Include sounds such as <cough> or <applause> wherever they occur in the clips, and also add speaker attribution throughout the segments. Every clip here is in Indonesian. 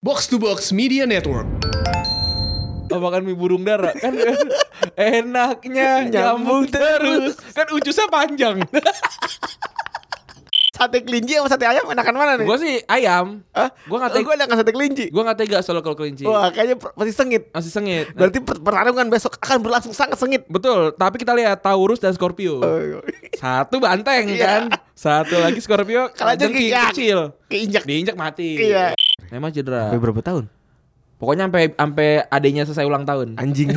Speaker 1: Box to Box Media Network.
Speaker 2: Oh, makan mie burung dara kan <laughs> enaknya nyambung terus kan ucusnya <laughs> panjang
Speaker 3: Sate kelinci sama sate ayam enakan mana nih?
Speaker 2: gue sih ayam
Speaker 3: Hah?
Speaker 2: gue nggak
Speaker 3: Oh,
Speaker 2: tega
Speaker 3: gua enakan sate kelinci.
Speaker 2: gue nggak tega soal kalau kelinci
Speaker 3: Wah, kayaknya per- pasti sengit.
Speaker 2: masih sengit
Speaker 3: Berarti per- pertarungan besok akan berlangsung sangat sengit.
Speaker 2: betul tapi kita lihat Taurus dan Scorpio
Speaker 3: Oh,
Speaker 2: satu banteng kan satu lagi Scorpio <laughs>
Speaker 3: Kalau
Speaker 2: jengking,
Speaker 3: jengking.
Speaker 2: kecil
Speaker 3: <laughs> Keinjak.
Speaker 2: diinjak mati
Speaker 3: Iya.
Speaker 2: memang cedera
Speaker 3: Sampai berapa tahun?
Speaker 2: pokoknya sampai sampai adanya selesai ulang tahun
Speaker 3: <laughs> Anjing.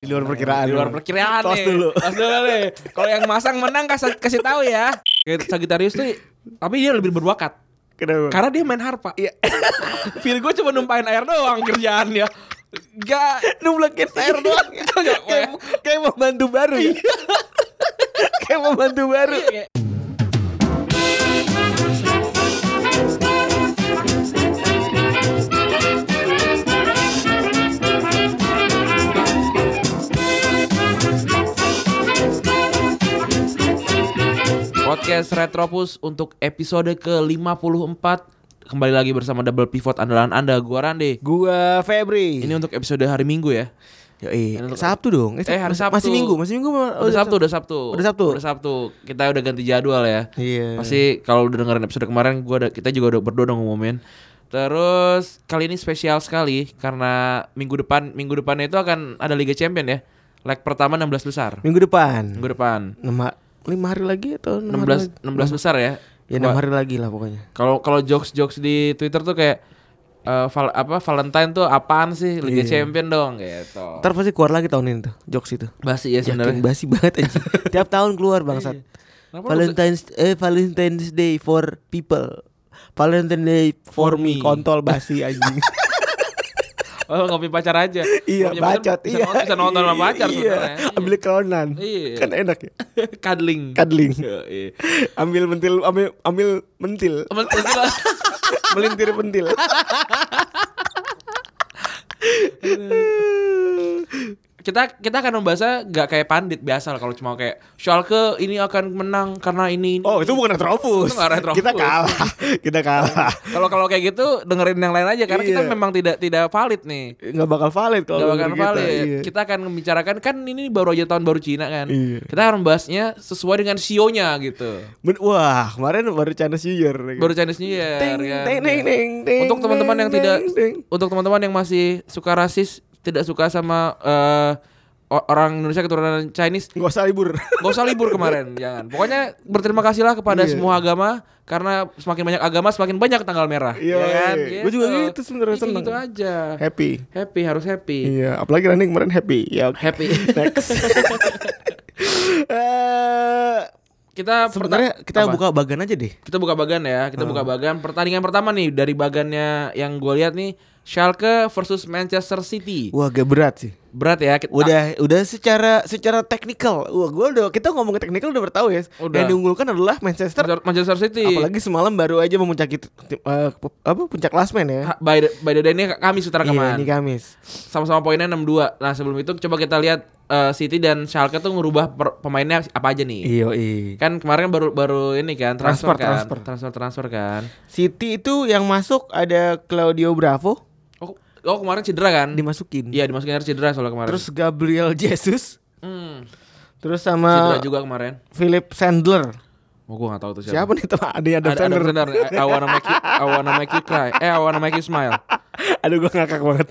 Speaker 3: Di luar perkiraan.
Speaker 2: di luar perkiraan
Speaker 3: Tos
Speaker 2: nih.
Speaker 3: dulu.
Speaker 2: Tos dulu nih. Kalau yang masang menang kasih kasih tahu ya. Kayak Sagittarius tuh tapi dia lebih berbakat.
Speaker 3: Kenapa?
Speaker 2: Karena dia main harpa. <laughs> Iya. Virgo cuma numpain air doang kerjaannya. Gak
Speaker 3: Nublekin air
Speaker 2: <laughs>
Speaker 3: doang.
Speaker 2: Kayak-
Speaker 3: <laughs> kayak kayak membantu baru. ya? <laughs> kayak membantu baru.
Speaker 2: Podcast Retropus untuk episode ke-54 Kembali lagi bersama Double Pivot Andalan Anda Gua Rande
Speaker 3: Gua Febri.
Speaker 2: Ini untuk episode hari Minggu ya
Speaker 3: Yoi.
Speaker 2: Ini untuk-
Speaker 3: Sabtu dong.
Speaker 2: Eh, hari
Speaker 3: masih- Masih
Speaker 2: Sabtu.
Speaker 3: Minggu, masih Minggu. ma-
Speaker 2: Udah Sabtu, udah Sabtu
Speaker 3: Udah Sabtu?
Speaker 2: Udah Sabtu Kita udah ganti jadwal ya
Speaker 3: Iya.
Speaker 2: Pasti kalau udah dengerin episode kemarin gua ada, kita juga udah berdua udah ngomongin. Terus kali ini spesial sekali karena minggu depan minggu depannya itu akan ada Liga Champion ya. Leg pertama 16 besar.
Speaker 3: Minggu depan.
Speaker 2: Minggu depan.
Speaker 3: Enam ha- lima hari lagi atau enam
Speaker 2: 16
Speaker 3: hari lagi?
Speaker 2: 16 besar ya.
Speaker 3: Ya enam hari lagi lah pokoknya.
Speaker 2: Kalau kalau jokes-jokes di Twitter tuh kayak eh, val- apa Valentine tuh apaan sih Liga
Speaker 3: Iya.
Speaker 2: Champion dong gitu.
Speaker 3: Ntar pasti keluar lagi tahun ini tuh jokes itu.
Speaker 2: Basi ya
Speaker 3: Yakin
Speaker 2: sebenarnya.
Speaker 3: basi banget <laughs> anjing. Tiap tahun keluar bangsat.
Speaker 2: Kenapa lu-
Speaker 3: Valentine's eh Valentine's Day for people. Valentine's Day
Speaker 2: For
Speaker 3: for,
Speaker 2: me.
Speaker 3: me. Kontol basi anjing.
Speaker 2: Oh, ngopi pacar aja.
Speaker 3: <laughs> iya,
Speaker 2: Kalau punya pacar
Speaker 3: bacot.
Speaker 2: Bisa,
Speaker 3: iya.
Speaker 2: nonton- bisa nonton sama pacar
Speaker 3: Iya.
Speaker 2: sebenarnya.
Speaker 3: Ambil kronan.
Speaker 2: Iya.
Speaker 3: Kan enak ya.
Speaker 2: Cuddling.
Speaker 3: <laughs> Kadling.
Speaker 2: Yoi.
Speaker 3: ambil mentil ambil ambil <laughs> mentil.
Speaker 2: Temen- temen-
Speaker 3: Melintir pentil.
Speaker 2: kita kita akan membahasnya nggak kayak pandit biasa lah kalau cuma kayak Schalke ini akan menang karena ini, ini.
Speaker 3: Oh, itu bukan retropus.
Speaker 2: Itu nggak retropus.
Speaker 3: Kita kalah. Kita kalah.
Speaker 2: kalau kalau kayak gitu dengerin yang lain aja karena kita
Speaker 3: Iya.
Speaker 2: memang tidak tidak valid nih
Speaker 3: nggak bakal valid kalau
Speaker 2: nggak bakal
Speaker 3: menurut
Speaker 2: valid
Speaker 3: Iya.
Speaker 2: kita akan membicarakan kan ini baru aja tahun baru Cina kan
Speaker 3: Iya.
Speaker 2: kita akan membahasnya sesuai dengan sionya gitu
Speaker 3: Men- wah kemarin baru Chinese New Year ya kan?
Speaker 2: baru Chinese New Year
Speaker 3: ting,
Speaker 2: kan.
Speaker 3: ting, ting, ting, ting,
Speaker 2: untuk teman-teman yang
Speaker 3: ting,
Speaker 2: tidak
Speaker 3: ting.
Speaker 2: untuk teman-teman yang masih suka rasis tidak suka sama eh, o- orang Indonesia keturunan Chinese
Speaker 3: nggak usah libur
Speaker 2: Gak usah libur kemarin, jangan. Pokoknya berterima kasihlah kepada
Speaker 3: Iya.
Speaker 2: semua agama karena semakin banyak agama semakin banyak tanggal merah.
Speaker 3: Iya, iya. Gua juga gitu sebenarnya,
Speaker 2: Iya, kayak
Speaker 3: seneng.
Speaker 2: Gitu aja.
Speaker 3: happy
Speaker 2: Happy harus happy.
Speaker 3: iya apalagi Rani kemarin happy ya oke. <laughs>
Speaker 2: Happy. <laughs>
Speaker 3: next Eh,
Speaker 2: kita
Speaker 3: sebenarnya
Speaker 2: perta-
Speaker 3: kita
Speaker 2: apa?
Speaker 3: buka bagan aja deh
Speaker 2: kita buka bagan ya. Kita buka bagan pertandingan pertama nih dari bagannya yang gue lihat nih Schalke versus Manchester City.
Speaker 3: wah agak berat sih
Speaker 2: Berat ya. Kita,
Speaker 3: udah udah secara secara teknikal wah gue udah kita ngomongin teknikal udah bertahu ya
Speaker 2: Udah.
Speaker 3: yang diunggulkan adalah Manchester
Speaker 2: Manchester- Manchester City.
Speaker 3: apalagi semalam baru aja memuncaki tim- eh, apa puncak klasmen ya
Speaker 2: Ha- By the, by the day ini kami sutra
Speaker 3: iya
Speaker 2: kemarin.
Speaker 3: ini Kamis
Speaker 2: sama-sama poinnya 62. Nah, sebelum itu coba kita lihat eh, City dan Schalke tuh ngerubah per- pemainnya apa aja nih.
Speaker 3: Iya, iya.
Speaker 2: Kan kemarin baru baru ini kan transfer,
Speaker 3: Transfer,
Speaker 2: kan.
Speaker 3: transfer.
Speaker 2: transfer transfer kan.
Speaker 3: City itu yang masuk ada Claudio Bravo
Speaker 2: Oh, oh kemarin cedera kan?
Speaker 3: dimasukin.
Speaker 2: Iya, dimasukin harus cedera soalnya kemarin.
Speaker 3: Terus Gabriel Jesus,
Speaker 2: hmm,
Speaker 3: terus
Speaker 2: cedera
Speaker 3: sama
Speaker 2: juga kemarin.
Speaker 3: Philip Sandler.
Speaker 2: Mau gua gak tahu tuh siapa.
Speaker 3: Siapa nih teman? Ada yang
Speaker 2: Ada
Speaker 3: ada
Speaker 2: ada
Speaker 3: Sandler.
Speaker 2: benar. I, I wanna make you, I wanna make you cry. Eh, I wanna make you smile.
Speaker 3: Aduh gua ngakak banget.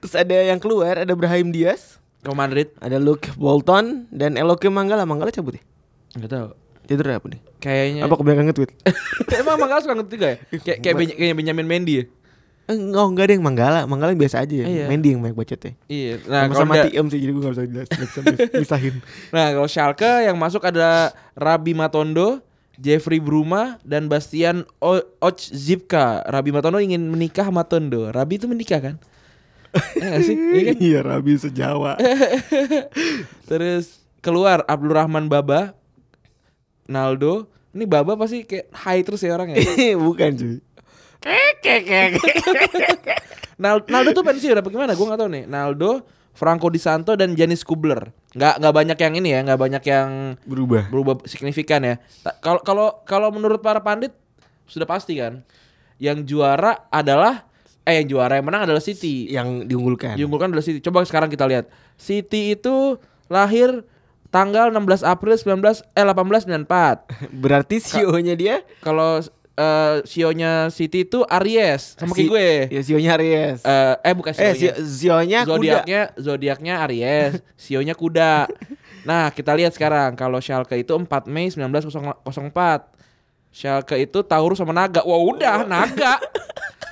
Speaker 3: terus ada yang keluar ada Brahim Diaz,
Speaker 2: Ke Madrid.
Speaker 3: ada Luke Bolton dan Eloke Manggala. Manggala cabut ya?
Speaker 2: Enggak tahu.
Speaker 3: Cedera apa nih?
Speaker 2: Kayaknya
Speaker 3: Apa kebanyakan nge-tweet?
Speaker 2: Emang Manggala suka ketiga ya? Kayak kayak Beny- kayak Benjamin Mendy ya?
Speaker 3: Eh, oh enggak ada yang Manggala, Manggala yang biasa aja ya.
Speaker 2: Iya.
Speaker 3: Mendy yang banyak bacotnya.
Speaker 2: Iya.
Speaker 3: Nah,
Speaker 2: Nah, kalau
Speaker 3: sama
Speaker 2: dia-
Speaker 3: TM sih jadi gue gak bisa jelas, nggak bisa misahin.
Speaker 2: Nah kalau Schalke yang masuk ada Rabi Matondo, Jeffrey Bruma, dan Bastian O- Oczipka. Rabi Matondo ingin menikah sama Matondo. Rabi itu menikah kan? Iya nggak sih? Iya kan?
Speaker 3: Iya, Rabi sejawa.
Speaker 2: Terus keluar Abdurrahman Baba, Naldo. Ini Baba pasti kayak high terus ya orangnya.
Speaker 3: <laughs> Bukan cuy.
Speaker 2: Nal- Naldo tuh pensiun apa gimana? Gue nggak tahu nih. Naldo, Franco Di Santo dan Janis Kubler. Nggak nggak banyak yang ini ya, nggak banyak yang
Speaker 3: Berubah.
Speaker 2: berubah signifikan ya. Ta- Kalau kalau kalau menurut para pandit sudah pasti kan. yang juara adalah eh yang juara yang menang adalah City.
Speaker 3: yang diunggulkan.
Speaker 2: Diunggulkan adalah City. Coba sekarang kita lihat. City itu lahir tanggal 16 April 19 eh 1894.
Speaker 3: Berarti CEO-nya dia
Speaker 2: Kalau eh sionya City itu Aries sama kayak
Speaker 3: Si-
Speaker 2: gue.
Speaker 3: ya CEO-nya Aries.
Speaker 2: Eh, eh bukan
Speaker 3: eh
Speaker 2: sionya.
Speaker 3: CEO-nya kuda.
Speaker 2: zodiaknya zodiaknya Aries, sionya kuda. Nah, kita lihat sekarang kalau Schalke itu 4 Mei 1904. Schalke itu Taurus sama naga. Wah, udah naga.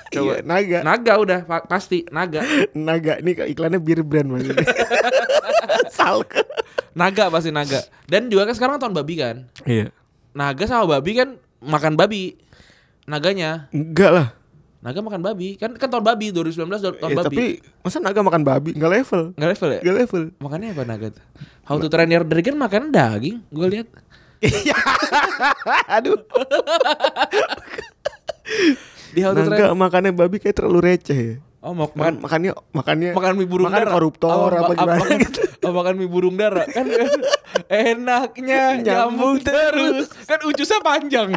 Speaker 3: Coba Iya, naga.
Speaker 2: Naga udah pa- pasti naga.
Speaker 3: Naga ini iklannya bir brand banget. Salk.
Speaker 2: Naga pasti naga. Dan juga kan sekarang tahun babi kan.
Speaker 3: Iya.
Speaker 2: Naga sama babi kan makan babi. Naganya,
Speaker 3: Enggak lah.
Speaker 2: naga makan babi. Kan kan tahun babi 2019 tahun babi.
Speaker 3: Eh, tapi masa naga makan babi? Enggak level.
Speaker 2: Nggak level ya?
Speaker 3: Enggak level.
Speaker 2: Makannya apa naga tuh? How to Train Your Dragon makan daging, gue lihat.
Speaker 3: Aduh.
Speaker 2: Di How to Train
Speaker 3: Naga makannya babi kayak terlalu receh ya.
Speaker 2: Oh, mau makan
Speaker 3: Makan makannya makannya
Speaker 2: makan mie burung
Speaker 3: makan
Speaker 2: dara
Speaker 3: koruptor
Speaker 2: Oh,
Speaker 3: apa
Speaker 2: ma-
Speaker 3: gimana
Speaker 2: makan,
Speaker 3: gitu.
Speaker 2: oh, makan mie burung dara kan <laughs> enaknya
Speaker 3: Nyambung
Speaker 2: nyambung terus kan ucusnya
Speaker 3: <laughs>
Speaker 2: panjang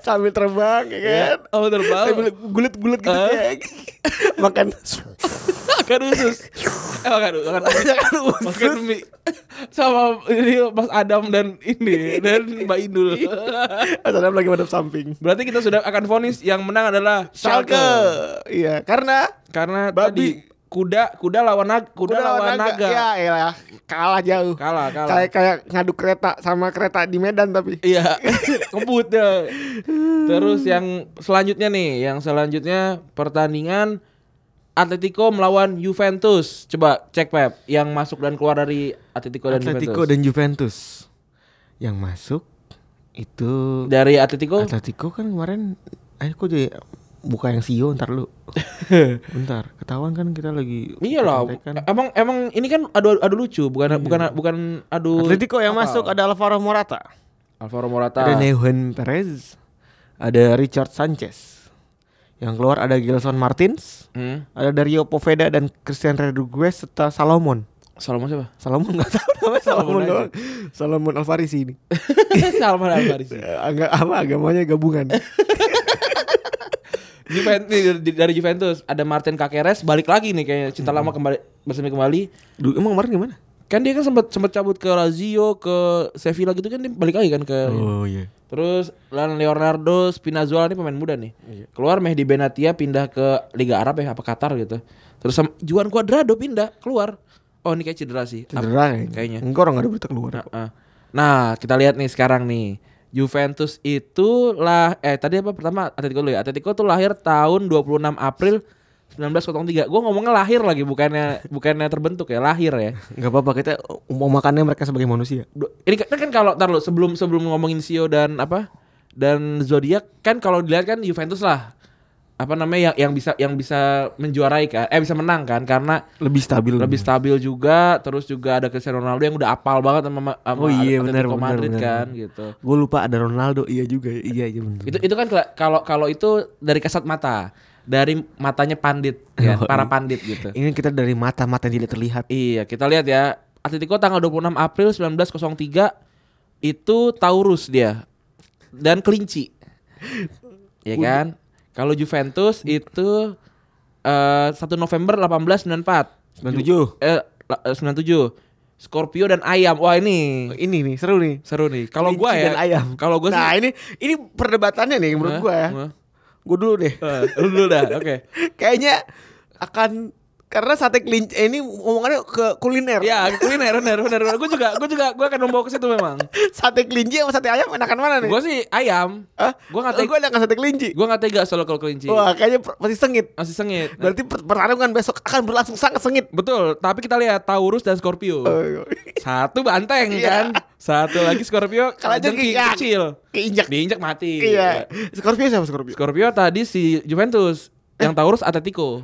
Speaker 3: sambil terbang ya kan.
Speaker 2: oh terbang
Speaker 3: Sambil gulit-gulit gitu
Speaker 2: Eh.
Speaker 3: kayak. <laughs> makan
Speaker 2: makan usus eh makan makan
Speaker 3: makan
Speaker 2: makan mie sama ini Mas Adam dan ini dan Mbak Indul
Speaker 3: Ada lagi madep samping.
Speaker 2: berarti kita sudah akan vonis yang menang adalah
Speaker 3: Schalke.
Speaker 2: Schalke
Speaker 3: Iya, karena
Speaker 2: karena
Speaker 3: Babi.
Speaker 2: tadi kuda kuda lawan naga kuda, lawan naga,
Speaker 3: Ya, elah, kalah jauh.
Speaker 2: kalah kalah
Speaker 3: Kayak kayak ngadu kereta sama kereta di Medan tapi.
Speaker 2: <laughs> Iya, ngebut ya. Terus yang selanjutnya nih, yang selanjutnya pertandingan Atletico melawan Juventus. Coba cek Pep, yang masuk dan keluar dari Atletico dan
Speaker 3: Atletico
Speaker 2: Juventus.
Speaker 3: dan Juventus. Yang masuk itu
Speaker 2: Dari Atletico
Speaker 3: Atletico kan kemarin eh kok jadi buka yang CEO ntar
Speaker 2: <laughs>
Speaker 3: lu. Bentar, ketahuan kan kita lagi
Speaker 2: Iya lah,
Speaker 3: kontekan.
Speaker 2: emang emang ini kan adu adu lucu, bukan bukan bukan adu.
Speaker 3: Iya. Atletico yang
Speaker 2: apa?
Speaker 3: masuk ada Alvaro Morata,
Speaker 2: Alvaro Morata,
Speaker 3: ada Neuhan Perez, ada Richard Sanchez. Yang keluar ada Gelson Martins,
Speaker 2: hmm.
Speaker 3: Ada Dario Poveda dan Christian Rodriguez serta Salomon.
Speaker 2: Salomon
Speaker 3: <laughs>
Speaker 2: siapa? <laughs>
Speaker 3: Salomon nggak tahu namanya Salomon
Speaker 2: Salomon aja.
Speaker 3: doang. Salomon Alvaris ini.
Speaker 2: Salman Alvarez.
Speaker 3: Agak apa agamanya <laughs> gabungan.
Speaker 2: Juventus dari Juventus ada Martin Kakeres balik lagi nih kayaknya cinta
Speaker 3: Hmm.
Speaker 2: lama kembali bersemi kembali.
Speaker 3: Duh, emang kemarin gimana?
Speaker 2: Kan dia kan sempat sempat cabut ke Lazio, ke Sevilla gitu kan dia balik lagi kan ke
Speaker 3: iya.
Speaker 2: Terus Lan Leonardo Spinazzola ini pemain muda nih. Keluar Mehdi Benatia pindah ke Liga Arab ya apa Qatar gitu. Terus sama Juan Cuadrado pindah keluar. Oh ini kayak cedera sih.
Speaker 3: Cedera
Speaker 2: Kayaknya.
Speaker 3: kayaknya. Enggak orang nggak ada berita keluar.
Speaker 2: Nah, eh. Nah, kita lihat nih sekarang nih. Juventus itu lah eh tadi apa pertama Atletico dulu ya. Atletico tuh lahir tahun 26 April 1903. Gue ngomongnya lahir lagi bukannya bukannya terbentuk ya, lahir ya.
Speaker 3: Enggak apa-apa kita mau makannya mereka sebagai manusia.
Speaker 2: Du- ini kan, kan kalau tar lu, sebelum sebelum ngomongin Sio dan apa dan zodiak kan kalau dilihat kan Juventus lah apa namanya ya, yang yang bisa yang bisa menjuarai kan eh bisa menang kan karena
Speaker 3: Lebih stabil.
Speaker 2: lebih stabil juga terus juga ada Cristiano Ronaldo yang udah apal banget sama, sama
Speaker 3: Oh iya, benar,
Speaker 2: Atletico
Speaker 3: benar,
Speaker 2: Madrid
Speaker 3: benar.
Speaker 2: kan gitu
Speaker 3: Gue lupa ada Ronaldo. Iya juga. ya. Iya iya bener.
Speaker 2: itu itu kan kela- kalau kalau itu dari kasat mata dari matanya pandit ya
Speaker 3: <laughs> Oh,
Speaker 2: para
Speaker 3: iya.
Speaker 2: pandit gitu
Speaker 3: Ini kita dari mata-mata yang tidak terlihat.
Speaker 2: Iya, kita lihat ya. Atletico tanggal 26 April 1903 itu Taurus dia dan kelinci. ya kan? Kalau Juventus itu eh 1 November 1894.
Speaker 3: 97.
Speaker 2: Eh la- eh, 97. Scorpio dan ayam. Wah, ini
Speaker 3: Ini nih seru nih.
Speaker 2: seru nih. Kalau
Speaker 3: Kelinci
Speaker 2: gua ya,
Speaker 3: dan ayam.
Speaker 2: kalau gua sih
Speaker 3: Nah, ini ini perdebatannya nih menurut
Speaker 2: Hah?
Speaker 3: gua ya.
Speaker 2: Hah?
Speaker 3: Gue dulu deh.
Speaker 2: Eh, lu dulu dah. Oke.
Speaker 3: <laughs> kayaknya akan karena sate kelinci eh, ini omongannya ke kuliner.
Speaker 2: Ya, kuliner benar benar. benar. Gua juga gua juga gua akan membawa ke situ memang.
Speaker 3: Sate kelinci sama sate ayam enakan mana nih?
Speaker 2: Gua sih ayam.
Speaker 3: Hah? Eh,
Speaker 2: Gua nggak tega.
Speaker 3: Gua enakan sate kelinci.
Speaker 2: Gua nggak tega soal kalau kelinci.
Speaker 3: Wah, kayaknya per- pasti sengit.
Speaker 2: Masih sengit. Nah,
Speaker 3: Berarti per- pertarungan besok akan berlangsung sangat sengit. <laughs>
Speaker 2: Betul, tapi kita lihat Taurus dan Scorpio. Satu banteng
Speaker 3: Eh. Iya.
Speaker 2: kan. Satu lagi Scorpio
Speaker 3: <laughs> Kalau
Speaker 2: kalau
Speaker 3: jengking, ah.
Speaker 2: kecil.
Speaker 3: Keinjak.
Speaker 2: Diinjak mati.
Speaker 3: <laughs> Iya. Scorpio siapa Scorpio?
Speaker 2: Scorpio tadi si Juventus, yang
Speaker 3: Eh.
Speaker 2: Taurus Atletico.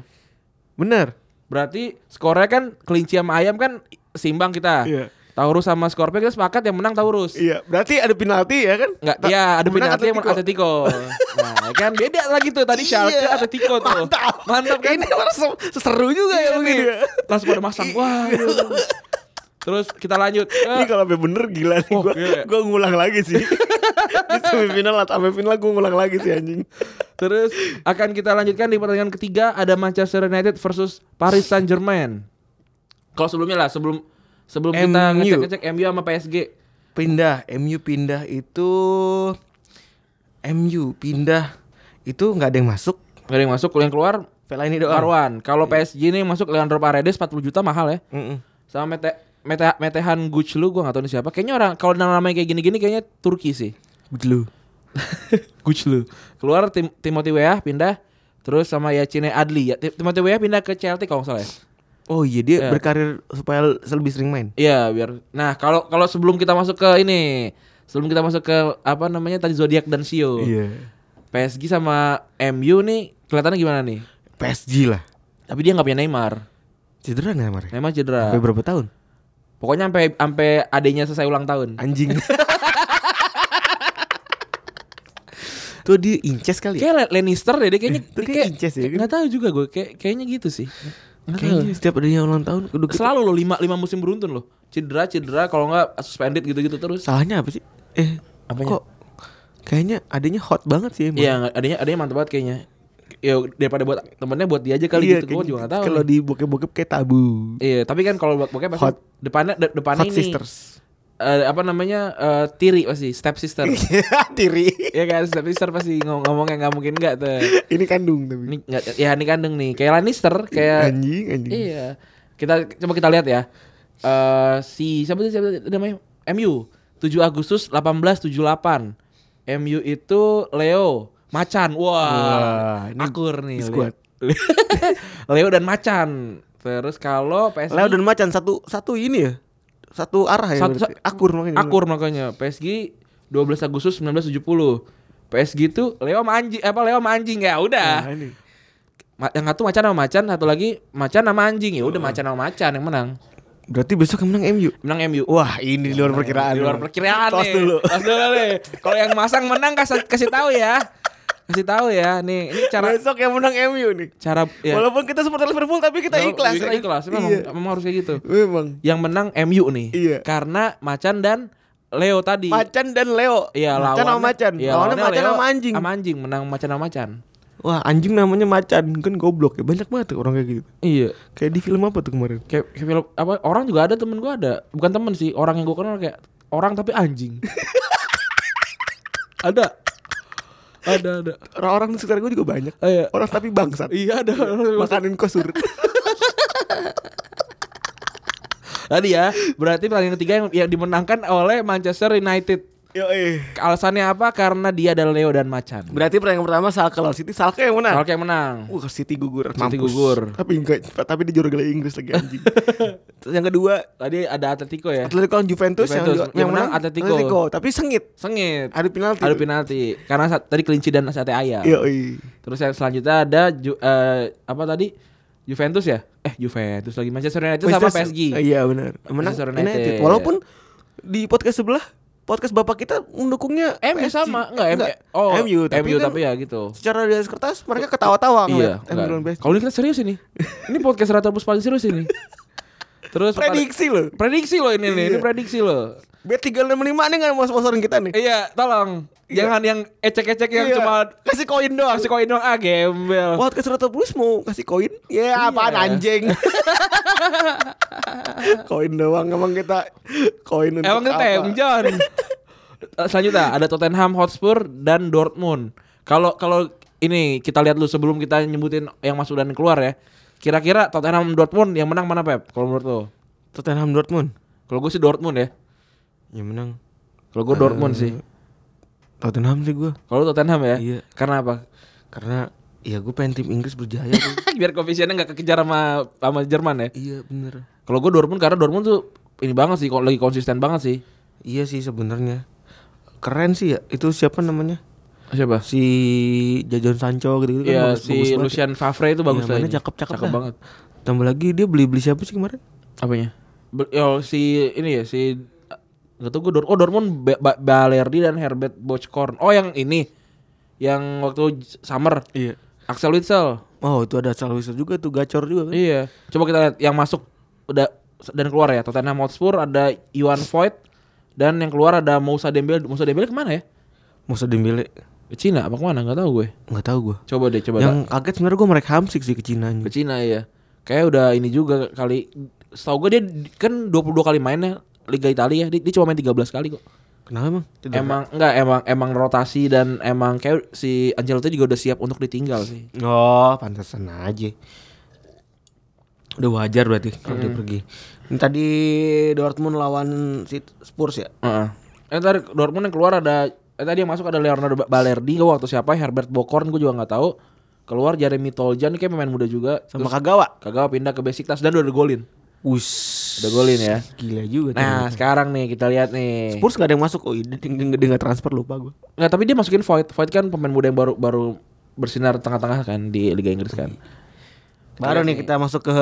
Speaker 3: Bener.
Speaker 2: Berarti skornya kan kelinci sama ayam kan seimbang kita.
Speaker 3: Iya.
Speaker 2: Taurus sama Scorpio kita sepakat yang menang Taurus.
Speaker 3: Iya, berarti ada penalti ya kan?
Speaker 2: Enggak,
Speaker 3: Ta-
Speaker 2: iya ada
Speaker 3: pemenang
Speaker 2: penalti yang menang Atletico. nah, ya kan beda lagi tuh tadi Schalke
Speaker 3: Iya.
Speaker 2: Atletico tuh.
Speaker 3: Mantap.
Speaker 2: Mantap kan?
Speaker 3: Ini orang se- seseru juga ya
Speaker 2: Iya
Speaker 3: mungkin.
Speaker 2: nih. Langsung pada masang. Wah. aduh. Terus kita lanjut ke
Speaker 3: Ini kalau sampai bener gila nih
Speaker 2: Wah,
Speaker 3: gua,
Speaker 2: gila ya.
Speaker 3: gua ngulang lagi sih. <laughs> Di semifinal atau sampai final gua ngulang lagi sih anjing.
Speaker 2: Terus akan kita lanjutkan di pertandingan ketiga ada Manchester United versus Paris Saint Germain. Kalau sebelumnya lah sebelum sebelum kita
Speaker 3: MU.
Speaker 2: ngecek-ngecek MU sama PSG.
Speaker 3: Pindah, MU pindah itu MU pindah itu nggak ada yang masuk.
Speaker 2: Gak ada yang masuk, yang keluar
Speaker 3: Vela ini doang.
Speaker 2: Arwan. Kalau PSG ini yang masuk Leandro Paredes 40 juta mahal ya.
Speaker 3: Mm-mm.
Speaker 2: Sama Mete Mete Metehan Guclu gua gak tahu ini siapa. Kayaknya orang kalau namanya kayak gini-gini kayaknya Turki sih.
Speaker 3: Gudlu.
Speaker 2: Guclu. Keluar Tim Timothy Weah pindah terus sama Yacine Adli. Ya, Tim- Timothy Weah pindah ke Chelsea kalau nggak salah ya.
Speaker 3: Oh iya dia
Speaker 2: Ya.
Speaker 3: berkarir supaya lebih sering main.
Speaker 2: Iya biar. Nah kalau kalau sebelum kita masuk ke ini, sebelum kita masuk ke apa namanya tadi zodiak dan sio,
Speaker 3: Iya.
Speaker 2: PSG sama MU nih kelihatannya gimana nih?
Speaker 3: PSG lah.
Speaker 2: Tapi dia nggak punya Neymar,
Speaker 3: Cedera nih Amar?
Speaker 2: Neymar cedera.
Speaker 3: Sampai berapa tahun?
Speaker 2: Pokoknya sampai sampai adenya selesai ulang tahun.
Speaker 3: <laughs> Anjing. Tuh dia inces kali ya?
Speaker 2: Kayak Le- Lannister deh, dia kayaknya
Speaker 3: <laughs> Itu kayak Inces ya, kan?
Speaker 2: Gak tahu juga gue, kayak kayaknya gitu sih. Nggak tahu.
Speaker 3: Kayaknya setiap adanya ulang tahun kudu
Speaker 2: Selalu loh lima lima musim beruntun loh. Cedera cedera kalau nggak suspended gitu-gitu terus.
Speaker 3: Salahnya apa sih? Eh,
Speaker 2: Apanya?
Speaker 3: kok kayaknya adanya hot banget sih emang.
Speaker 2: Iya, adanya adanya mantep banget kayaknya. Ya daripada buat temennya buat dia aja kali
Speaker 3: Iya,
Speaker 2: gitu. Gue
Speaker 3: kayak
Speaker 2: juga gak tahu.
Speaker 3: Kalau di bokep-bokep kayak
Speaker 2: <laughs>
Speaker 3: tabu.
Speaker 2: Iya, tapi kan kalau bokep pasti
Speaker 3: Hot.
Speaker 2: depannya de- depannya
Speaker 3: Hot
Speaker 2: ini
Speaker 3: sisters.
Speaker 2: eh, apa namanya eh, tiri pasti step
Speaker 3: <laughs>
Speaker 2: sister.
Speaker 3: Tiri.
Speaker 2: Iya kan step sister pasti ngomong, ngomong yang nggak mungkin nggak tuh.
Speaker 3: Ini kandung tapi.
Speaker 2: Ini nggak ya ini kandung nih kayak Lannister kayak
Speaker 3: Anjing, anjing.
Speaker 2: iya. Kita coba kita lihat ya. Eh si siapa sih siapa sih namanya? MU 7 Agustus 1878. MU itu Leo Macan. Wah,
Speaker 3: Wah, ini
Speaker 2: akur nih.
Speaker 3: di squad.
Speaker 2: Leo. <laughs> Leo dan Macan. Terus kalau PSG
Speaker 3: Leo dan Macan satu satu ini ya. Satu arah ya.
Speaker 2: Satu-
Speaker 3: berarti. akur makanya.
Speaker 2: Akur makanya PSG 12 Agustus 1970 PSG itu Leo sama anjing apa Leo sama anjing ya
Speaker 3: Nah,
Speaker 2: udah
Speaker 3: ini.
Speaker 2: Ma- yang satu macan sama macan satu lagi macan sama anjing ya udah
Speaker 3: Hmm.
Speaker 2: macan sama macan yang menang
Speaker 3: Berarti besok yang menang MU.
Speaker 2: menang MU
Speaker 3: Wah, ini di luar perkiraan.
Speaker 2: di luar
Speaker 3: Bang.
Speaker 2: perkiraan
Speaker 3: Tos
Speaker 2: nih <laughs>
Speaker 3: dulu.
Speaker 2: Tos dulu nih kalau yang masang menang kasih kasih tahu ya kasih tahu ya nih ini cara
Speaker 3: Besok yang menang MU nih.
Speaker 2: cara ya
Speaker 3: Walaupun kita supporter Liverpool tapi kita ikhlas.
Speaker 2: kita
Speaker 3: ya kan?
Speaker 2: ikhlas memang
Speaker 3: Iya.
Speaker 2: memang harus kayak gitu
Speaker 3: Memang.
Speaker 2: yang menang MU nih
Speaker 3: Iya.
Speaker 2: karena macan dan Leo tadi
Speaker 3: Macan dan Leo.
Speaker 2: Iya
Speaker 3: macan sama
Speaker 2: lawannya-
Speaker 3: macan.
Speaker 2: Iya,
Speaker 3: lawannya,
Speaker 2: lawannya
Speaker 3: macan
Speaker 2: Leo
Speaker 3: sama anjing.
Speaker 2: Sama anjing menang macan sama macan.
Speaker 3: Wah, anjing namanya macan. Kan goblok ya. Banyak banget tuh orang kayak gitu.
Speaker 2: Iya.
Speaker 3: Kayak di film apa tuh kemarin?
Speaker 2: Kayak, kayak film apa orang juga ada temen gua ada. Bukan temen sih, orang yang gua kenal kayak orang tapi anjing. ada. Ada ada.
Speaker 3: Orang-orang di sekitar gue juga banyak.
Speaker 2: Ah, iya.
Speaker 3: Orang tapi bangsat.
Speaker 2: Iya ada.
Speaker 3: Makanin kosur. <laughs>
Speaker 2: Tadi ya, berarti pertandingan ketiga yang, yang dimenangkan oleh Manchester United.
Speaker 3: Yo eh.
Speaker 2: Alasannya apa? Karena dia ada Leo dan Macan.
Speaker 3: Berarti pertandingan pertama Salke lawan City. Salke yang menang.
Speaker 2: Soalnya yang menang.
Speaker 3: Wah, City gugur.
Speaker 2: City gugur.
Speaker 3: Tapi enggak, tapi di juara Inggris lagi <laughs> anjing. Terus yang kedua,
Speaker 2: Tadi ada Atletico ya.
Speaker 3: Atletico lawan Juventus,
Speaker 2: Juventus.
Speaker 3: yang,
Speaker 2: Yang menang Atletico.
Speaker 3: tapi sengit.
Speaker 2: Sengit.
Speaker 3: Ada penalti. Iya.
Speaker 2: Ada penalti karena saat, tadi kelinci dan sate ayam.
Speaker 3: Yo
Speaker 2: Terus yang selanjutnya ada Ju- eh, apa tadi? Juventus ya? Eh Juventus lagi Manchester United sama PSG.
Speaker 3: Iya benar. Menang
Speaker 2: Manchester
Speaker 3: United.
Speaker 2: United.
Speaker 3: Walaupun di podcast sebelah podcast bapak kita mendukungnya
Speaker 2: MU
Speaker 3: PSG.
Speaker 2: ya sama enggak, M- oh,
Speaker 3: MU, tapi, kan
Speaker 2: tapi ya gitu.
Speaker 3: secara di atas kertas mereka ketawa-tawa
Speaker 2: Iya.
Speaker 3: ngeliat MU lawan
Speaker 2: enggak.
Speaker 3: PSG.
Speaker 2: Kalau ini kita serius ini. Ini podcast Ratapus paling serius
Speaker 3: <laughs>
Speaker 2: ini. Terus
Speaker 3: Prediksi loh.
Speaker 2: prediksi loh ini nih, ini
Speaker 3: Iya.
Speaker 2: prediksi loh.
Speaker 3: B365 nih nggak mau sponsorin kita nih.
Speaker 2: Iya, tolong jangan yang ecek-ecek yang
Speaker 3: Iya.
Speaker 2: cuma
Speaker 3: kasih koin doang.
Speaker 2: kasih koin doang ah gembel.
Speaker 3: Podcast Rata Plus mau kasih koin? Ya apaan
Speaker 2: Iya. <laughs>
Speaker 3: anjing Koin doang emang kita Koin untuk
Speaker 2: Emang kita
Speaker 3: apa?
Speaker 2: Tim John. Eh, Selanjutnya ada Tottenham Hotspur dan Dortmund. Kalau kalau ini kita lihat dulu sebelum kita nyebutin yang masuk dan keluar ya. Kira-kira Tottenham Dortmund yang menang mana Pep? Kalau menurut lo?
Speaker 3: Tottenham Dortmund
Speaker 2: Kalau gue sih Dortmund ya.
Speaker 3: Ya menang
Speaker 2: Kalau gue Dortmund sih.
Speaker 3: Tottenham sih gue
Speaker 2: Kalau lu Tottenham ya.
Speaker 3: Eh. Iya.
Speaker 2: Karena apa? <laughs>
Speaker 3: Karena ya gue pengen tim Inggris berjaya tuh.
Speaker 2: Biar koefisiennya nggak kekejar sama sama Jerman ya.
Speaker 3: Iya bener
Speaker 2: Kalau gue Dortmund karena Dortmund tuh ini banget sih kok lagi konsisten banget sih.
Speaker 3: Iya sih sebenarnya Keren sih ya Itu siapa namanya
Speaker 2: Siapa?
Speaker 3: Si Jajon Sancho gitu-gitu kan
Speaker 2: Ya
Speaker 3: bagus-
Speaker 2: si
Speaker 3: bagus banget ya.
Speaker 2: Lucian Favre itu bagus
Speaker 3: Iya, mainnya
Speaker 2: lagi.
Speaker 3: cakep-cakep
Speaker 2: cakep
Speaker 3: dah.
Speaker 2: banget.
Speaker 3: Tambah lagi dia beli-beli siapa sih kemarin
Speaker 2: Apanya? Be- Yo si ini ya si nggak tahu gue Dor oh Dortmund Ba- Ba- Balerdi dan Herbert Bochkorn. Oh yang ini yang waktu j- summer
Speaker 3: Iya
Speaker 2: Axel Witsel.
Speaker 3: Oh itu ada Salwiso juga tuh Gacor juga kan
Speaker 2: Iya. Coba kita lihat yang masuk udah dan keluar ya. Tottenham Hotspur ada Iwan Voigt dan yang keluar ada Moussa Dembele. Moussa Dembele kemana ya?
Speaker 3: Musa Dembele
Speaker 2: Ke Cina apa kemana? Gak tahu gue.
Speaker 3: nggak tahu gue.
Speaker 2: Coba deh, coba.
Speaker 3: Yang kaget sebenarnya gue mereka hamsik sih ke
Speaker 2: tak-
Speaker 3: Cina
Speaker 2: Ke
Speaker 3: anjing.
Speaker 2: Cina ya. Kayak udah ini juga kali. Setahu gue dia kan 22 kali mainnya Liga Italia ya. Dia, dia cuma main 13 kali kok.
Speaker 3: Kenapa emang? Cedera.
Speaker 2: Emang enggak emang emang rotasi dan emang kayak si Ancelotti juga udah siap untuk ditinggal sih.
Speaker 3: Oh, pantesan aja. Udah wajar berarti kalau dia pergi. Ini tadi Dortmund lawan si Spurs ya.
Speaker 2: Heeh. Eh, ntar Dortmund yang keluar ada eh, tadi yang masuk ada Leonardo Ba- Balerdi, gue waktu siapa Herbert Bokorn gue juga nggak tahu. Keluar Jeremy Toljan kayak pemain muda juga.
Speaker 3: Sama Kagawa.
Speaker 2: Kagawa pindah ke Besiktas dan udah ada golin.
Speaker 3: Wus.
Speaker 2: Udah golin ya.
Speaker 3: Gila juga
Speaker 2: Nah, sekarang nih kita lihat nih.
Speaker 3: Spurs gak ada yang masuk. Oh, iya, dia, dia, dia gak transfer lupa gue.
Speaker 2: Nggak, tapi dia masukin Void. Void kan pemain muda yang baru baru bersinar tengah-tengah kan di Liga Inggris kan.
Speaker 3: Baru nih kita masuk ke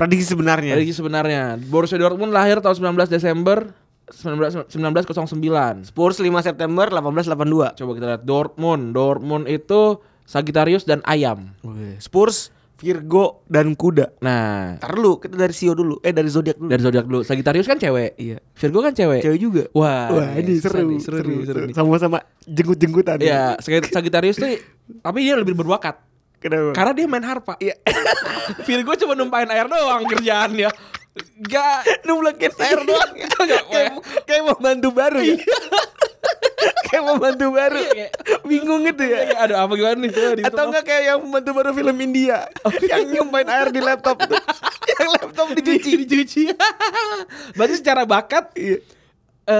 Speaker 3: prediksi sebenarnya.
Speaker 2: Jadi sebenarnya Borussia Dortmund lahir tahun 19 Desember 19 1909.
Speaker 3: Spurs 5 September 1882.
Speaker 2: Coba kita lihat Dortmund. Dortmund itu Sagittarius dan ayam.
Speaker 3: Spurs, Virgo dan Kuda.
Speaker 2: Nah,
Speaker 3: Ntar lu, kita dari Sio dulu. Eh dari zodiak dulu.
Speaker 2: dari zodiak dulu. Sagittarius kan cewek.
Speaker 3: Iya.
Speaker 2: Virgo kan cewek.
Speaker 3: Cewek juga.
Speaker 2: Wah,
Speaker 3: Wah, ini
Speaker 2: susah
Speaker 3: seru,
Speaker 2: nih, seru, nih, seru nih.
Speaker 3: Sama-sama jenggut-jenggutan.
Speaker 2: Iya,
Speaker 3: <laughs>
Speaker 2: Sag- Sagittarius tuh tapi dia lebih berbakat.
Speaker 3: Kenapa?
Speaker 2: Karena dia main harpa. Iya. <laughs> Virgo cuma numpain air doang kerjaannya. Gak
Speaker 3: nublekin
Speaker 2: air
Speaker 3: <laughs>
Speaker 2: doang. Gak-
Speaker 3: Iya, kayak kayak mau bantu baru ya <laughs> kayak mau bantu baru
Speaker 2: kayak-
Speaker 3: bingung gitu ya
Speaker 2: Kayak, Iya, Aduh apa gimana nih? Wah, di
Speaker 3: atau
Speaker 2: tengah.
Speaker 3: enggak kayak yang membantu baru film India <laughs> yang nyumpain air di laptop tuh. <laughs> yang laptop dicuci Iya.
Speaker 2: dicuci. <laughs> Berarti secara bakat eh,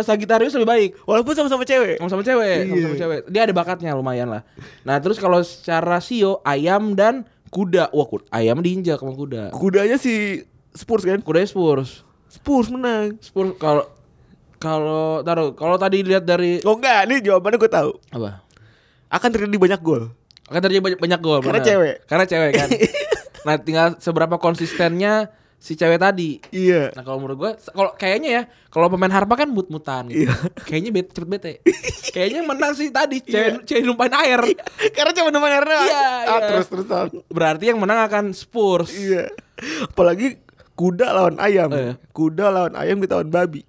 Speaker 2: Sagittarius lebih baik.
Speaker 3: walaupun sama-sama cewek
Speaker 2: sama sama cewek, sama sama
Speaker 3: Iya.
Speaker 2: cewek. Dia ada bakatnya lumayan lah. Nah, terus kalau secara sio ayam dan kuda. Wah, kuda. ayam diinjak sama kuda.
Speaker 3: kudanya si Spurs kan
Speaker 2: Kuda Spurs.
Speaker 3: Spurs menang
Speaker 2: Spurs kalau kalau taruh kalau tadi lihat dari
Speaker 3: oh enggak ini jawabannya gue tahu
Speaker 2: apa?
Speaker 3: akan terjadi banyak gol
Speaker 2: Akan terjadi banyak, banyak gol
Speaker 3: Karena
Speaker 2: benar.
Speaker 3: cewek.
Speaker 2: Karena cewek
Speaker 3: <laughs>
Speaker 2: kan. nah, tinggal seberapa konsistennya si cewek tadi.
Speaker 3: iya
Speaker 2: Nah, kalau menurut gua se- kalau kayaknya ya, kalau pemain harpa kan mut-mutan gitu.
Speaker 3: Iya.
Speaker 2: Kayaknya bet, cepet
Speaker 3: <laughs>
Speaker 2: bete. kayaknya menang sih tadi,
Speaker 3: Iya.
Speaker 2: cewek cewek numpain air.
Speaker 3: karena cuma teman air doang.
Speaker 2: Iya,
Speaker 3: Ah,
Speaker 2: iya.
Speaker 3: terus terusan
Speaker 2: Berarti yang menang akan Spurs.
Speaker 3: iya apalagi kuda lawan ayam
Speaker 2: Iya.
Speaker 3: kuda lawan ayam kita lawan babi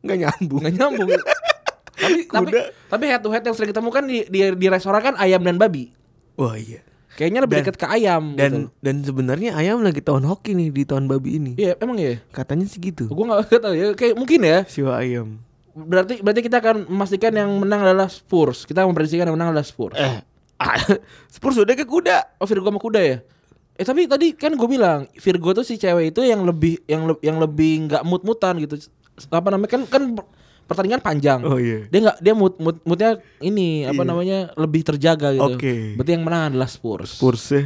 Speaker 3: nggak nyambung
Speaker 2: nggak nyambung tapi tapi
Speaker 3: Kuda.
Speaker 2: tapi head to head yang sering ditemukan di di, di restoran kan ayam dan babi
Speaker 3: Wah iya.
Speaker 2: kayaknya lebih
Speaker 3: Dan-
Speaker 2: dekat ke ayam
Speaker 3: Dan
Speaker 2: gitu.
Speaker 3: dan sebenarnya ayam lagi tahun hoki nih di tahun babi ini.
Speaker 2: iya emang ya
Speaker 3: Katanya sih gitu.
Speaker 2: gue nggak <laughs> tahu ya kayak mungkin ya
Speaker 3: Siwa ayam.
Speaker 2: berarti berarti kita akan memastikan yang menang adalah Spurs kita memprediksikan yang menang adalah Spurs
Speaker 3: Eh. <laughs> Spurs udah ke kuda.
Speaker 2: oh Virgo sama kuda ya eh tapi tadi kan gue bilang Virgo tuh si cewek itu yang lebih yang le- yang lebih nggak mut mutan gitu apa namanya kan kan pertandingan panjang
Speaker 3: Oh, iya.
Speaker 2: dia nggak dia mood mood moodnya ini apa
Speaker 3: Iya.
Speaker 2: namanya lebih terjaga gitu
Speaker 3: Oke.
Speaker 2: berarti yang menang adalah Spurs
Speaker 3: Spurs ya.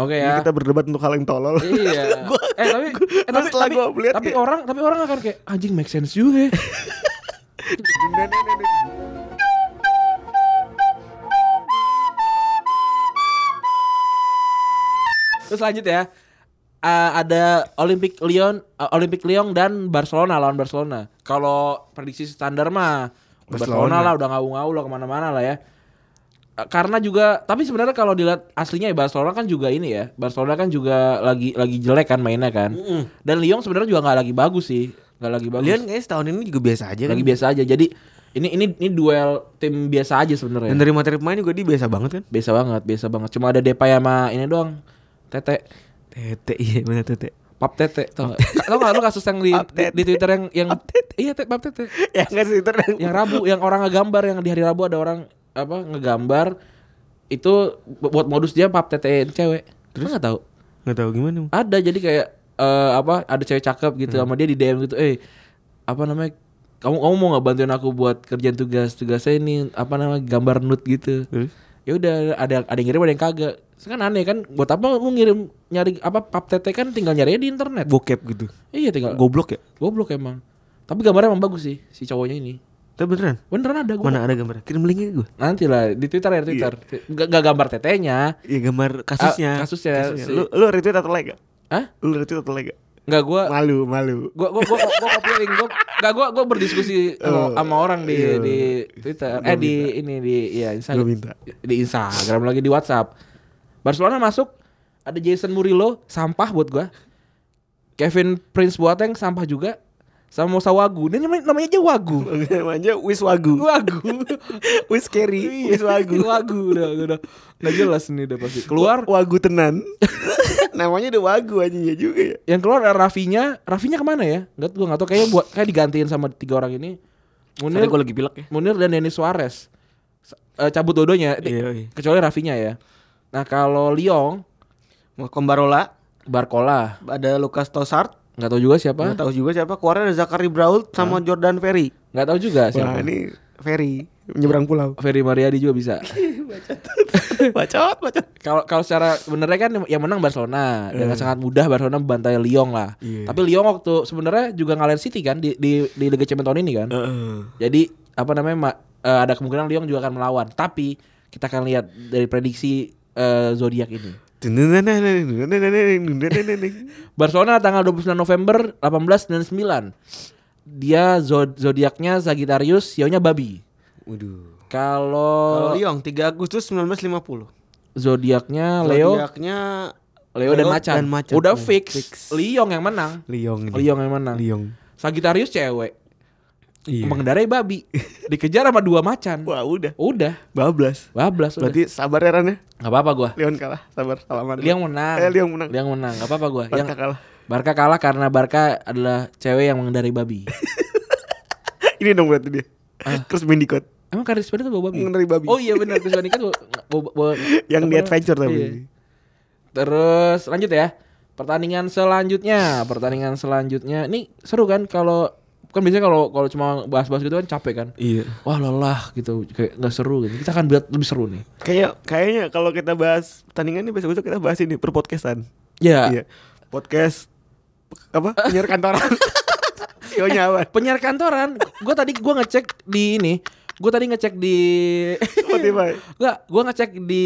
Speaker 2: Oke
Speaker 3: Ini
Speaker 2: ya. <laughs>
Speaker 3: kita berdebat untuk hal yang tolol.
Speaker 2: Iya.
Speaker 3: <laughs> Gua-
Speaker 2: eh tapi eh,
Speaker 3: terus
Speaker 2: tapi
Speaker 3: setelah
Speaker 2: tapi,
Speaker 3: <laughs> gua ya. melihat
Speaker 2: tapi
Speaker 3: kayak-
Speaker 2: orang tapi orang akan kayak anjing make sense juga. ya." <laughs> Terus lanjut ya. Eh, ada Olympic Lyon, eh, Olympic Lyon dan Barcelona lawan Barcelona. Kalau prediksi standar mah Barcelona,
Speaker 3: Barcelona.
Speaker 2: lah udah ngawur-ngawur lah kemana-mana lah ya. Eh, karena juga tapi sebenarnya kalau dilihat aslinya ya Barcelona kan juga ini ya Barcelona kan juga lagi lagi jelek kan mainnya kan dan Lyon sebenarnya juga nggak lagi bagus sih nggak lagi bagus
Speaker 3: Kalian kayaknya setahun ini juga biasa aja kan.
Speaker 2: lagi biasa aja jadi ini ini ini duel tim biasa aja
Speaker 3: Dan
Speaker 2: sebenarnya
Speaker 3: dari materi pemain juga dia biasa banget kan.
Speaker 2: biasa banget biasa banget cuma ada Depay sama ini doang Tete
Speaker 3: Tete iya benar tete.
Speaker 2: Pap Tete tau nggak tau nggak lu kasus yang di, di,
Speaker 3: Pap Tete.
Speaker 2: di Twitter yang yang iya Tete Pap Tete
Speaker 3: <laughs> ya enggak sih Twitter
Speaker 2: yang
Speaker 3: yang
Speaker 2: Rabu yang orang ngegambar yang di hari Rabu ada orang apa ngegambar itu bu- buat modus dia pap tete cewek terus nggak tahu
Speaker 3: enggak tahu gimana.
Speaker 2: ada jadi kayak eh, apa ada cewek cakep gitu sama dia di DM gitu eh apa namanya kamu kamu mau nggak bantuin aku buat kerjaan tugas tugasnya ini apa namanya gambar nude gitu
Speaker 3: Terus
Speaker 2: ya udah ada ada yang ngirim ada yang kagak Terus kan aneh kan buat apa lu ngirim nyari apa pap tete kan tinggal nyarinya di internet
Speaker 3: bokep gitu.
Speaker 2: iya tinggal
Speaker 3: Goblok ya?
Speaker 2: goblok emang tapi gambarnya emang bagus sih si cowoknya ini
Speaker 3: Tapi beneran?
Speaker 2: beneran ada gua
Speaker 3: Mana ada gambar? Kirim linknya ke gue.
Speaker 2: Nanti lah di Twitter ya di Twitter. Nggak nggak gambar tetenya.
Speaker 3: Iya gambar kasusnya.
Speaker 2: Ah, kasusnya, si-
Speaker 3: Lu lu retweet atau like gak?
Speaker 2: Hah?
Speaker 3: Lu retweet atau like gak?
Speaker 2: Nggak gua
Speaker 3: Malu, malu.
Speaker 2: gua gua gua, gua copy link gua nggak gua gua berdiskusi
Speaker 3: Oh,
Speaker 2: sama, sama orang di di Twitter. Eh di ini di ya
Speaker 3: iya. Gua
Speaker 2: Instagram.
Speaker 3: minta.
Speaker 2: Di Instagram lagi di WhatsApp. Barcelona masuk ada Jason Murillo sampah buat gua. Kevin Prince Boateng sampah juga sama Musa Wagu. Ini namanya, namanya aja Wagu.
Speaker 3: <laughs> namanya Wiswagu
Speaker 2: Wagu.
Speaker 3: <laughs> Wis Kerry Wis Iya, Wagu
Speaker 2: <laughs> Wagu udah udah. Nggak jelas nih udah pasti. Keluar
Speaker 3: Wagu tenan <laughs> namanya udah Wagu anjingnya juga ya
Speaker 2: yang keluar ada Rafinya. Rafinya kemana ya? Enggak gua nggak tahu kayaknya buat kayak digantiin sama tiga orang ini. Munir,
Speaker 3: gue lagi pilek ya
Speaker 2: Munir dan Denis Suarez. S- eh, cabut dodonya Ti-
Speaker 3: Iya, iya.
Speaker 2: kecuali Rafinya ya. Nah, kalau Lyon
Speaker 3: Mau Kombarola
Speaker 2: Barcola
Speaker 3: ada Lukas Tosart
Speaker 2: nggak tahu juga siapa.
Speaker 3: nggak tahu juga siapa keluarnya ada Zakari Brault sama Jordan Ferry
Speaker 2: Nggak tahu juga
Speaker 3: Wah
Speaker 2: siapa.
Speaker 3: ini Ferry menyeberang pulau
Speaker 2: Ferry Mariadi juga bisa.
Speaker 3: <laughs> bacot bacot
Speaker 2: Kalau kalau secara sebenarnya kan yang menang Barcelona
Speaker 3: Iya.
Speaker 2: dengan sangat mudah Barcelona bantai Lyon lah. Tapi Lyon waktu sebenarnya juga ngalahin City kan di di, di Liga Champions tahun ini kan. Jadi apa namanya ma- eh, ada kemungkinan Lyon juga akan melawan. Tapi kita akan lihat dari prediksi eh, zodiak ini. Barcelona tanggal 29 November 1899. Dia zo- zodiaknya Sagittarius, sionya babi.
Speaker 3: Waduh.
Speaker 2: Kalau
Speaker 3: Kalau Liong 3 Agustus 1950.
Speaker 2: zodiaknya Leo,
Speaker 3: Zodiaknya
Speaker 2: Leo dan macan.
Speaker 3: dan macan.
Speaker 2: Udah
Speaker 3: Oh,
Speaker 2: fix.
Speaker 3: fix.
Speaker 2: Lyon yang menang.
Speaker 3: Liong ini.
Speaker 2: Lyon yang menang.
Speaker 3: Liong.
Speaker 2: Sagittarius cewek,
Speaker 3: Iya.
Speaker 2: mengendarai
Speaker 3: <laughs>
Speaker 2: babi, dikejar sama dua macan.
Speaker 3: Wah, udah
Speaker 2: Udah,
Speaker 3: bablas.
Speaker 2: bablas udah.
Speaker 3: Berarti sabar ya Ran ya.
Speaker 2: Gak apa-apa gua.
Speaker 3: Lion kalah, sabar. Salaman.
Speaker 2: Liang menang.
Speaker 3: Eh, Liong menang.
Speaker 2: Liang menang. Gak apa-apa gua.
Speaker 3: Barca
Speaker 2: Yang
Speaker 3: kalah.
Speaker 2: Barca kalah karena Barca adalah cewek yang mengendarai
Speaker 3: <laughs>
Speaker 2: babi.
Speaker 3: ini dong berarti dia.
Speaker 2: Ah.
Speaker 3: Chris Mendicott
Speaker 2: Emang Karis Bani tuh bawa babi?
Speaker 3: Mengendarai babi.
Speaker 2: Oh iya benar Karis Bani kan bawa, bawa- bawa- apa
Speaker 3: yang di
Speaker 2: namanya?
Speaker 3: adventure tapi.
Speaker 2: Iya. Terus lanjut ya. Pertandingan selanjutnya, pertandingan selanjutnya. Ini seru kan kalau kan biasanya kalau kalau cuma bahas-bahas gitu kan capek kan.
Speaker 3: Iya.
Speaker 2: Wah lelah gitu, kayak nggak seru gitu. Kita akan buat lebih seru nih.
Speaker 3: Kayak kayaknya kalau kita bahas pertandingan ini besok-besok kita bahas ini perpodcastan.
Speaker 2: Ya.
Speaker 3: Iya. Podcast apa? Penyiar <laughs> kantoran. Sionya apa?
Speaker 2: Penyiar kantoran, gue tadi gue ngecek di ini, gue tadi ngecek di <laughs>
Speaker 3: Spotify.
Speaker 2: Enggak, gua ngecek di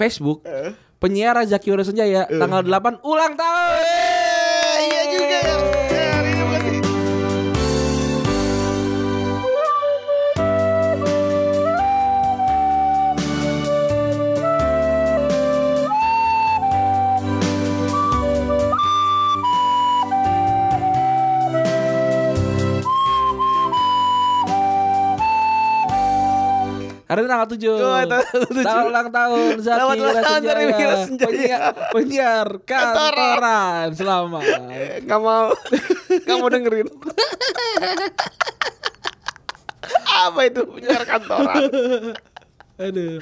Speaker 2: Facebook. Penyiar Zaki Ura Senjaya tanggal 8 ulang tahun.
Speaker 3: Eh. Iya juga ya. Ya, hari ini bukan sih.
Speaker 2: Hari ini tanggal 7.
Speaker 3: Oh, tanggal 7.
Speaker 2: Tanggal ulang tahun Zaki
Speaker 3: <laughs> Selamat ulang
Speaker 2: Ura
Speaker 3: tahun,
Speaker 2: Senjaya.
Speaker 3: Zaki Ura Senjaya.
Speaker 2: Penyiar, penyiar kantoran. Selamat.
Speaker 3: Eh, nggak mau nggak mau dengerin apa itu penyiar kantoran
Speaker 2: Aduh.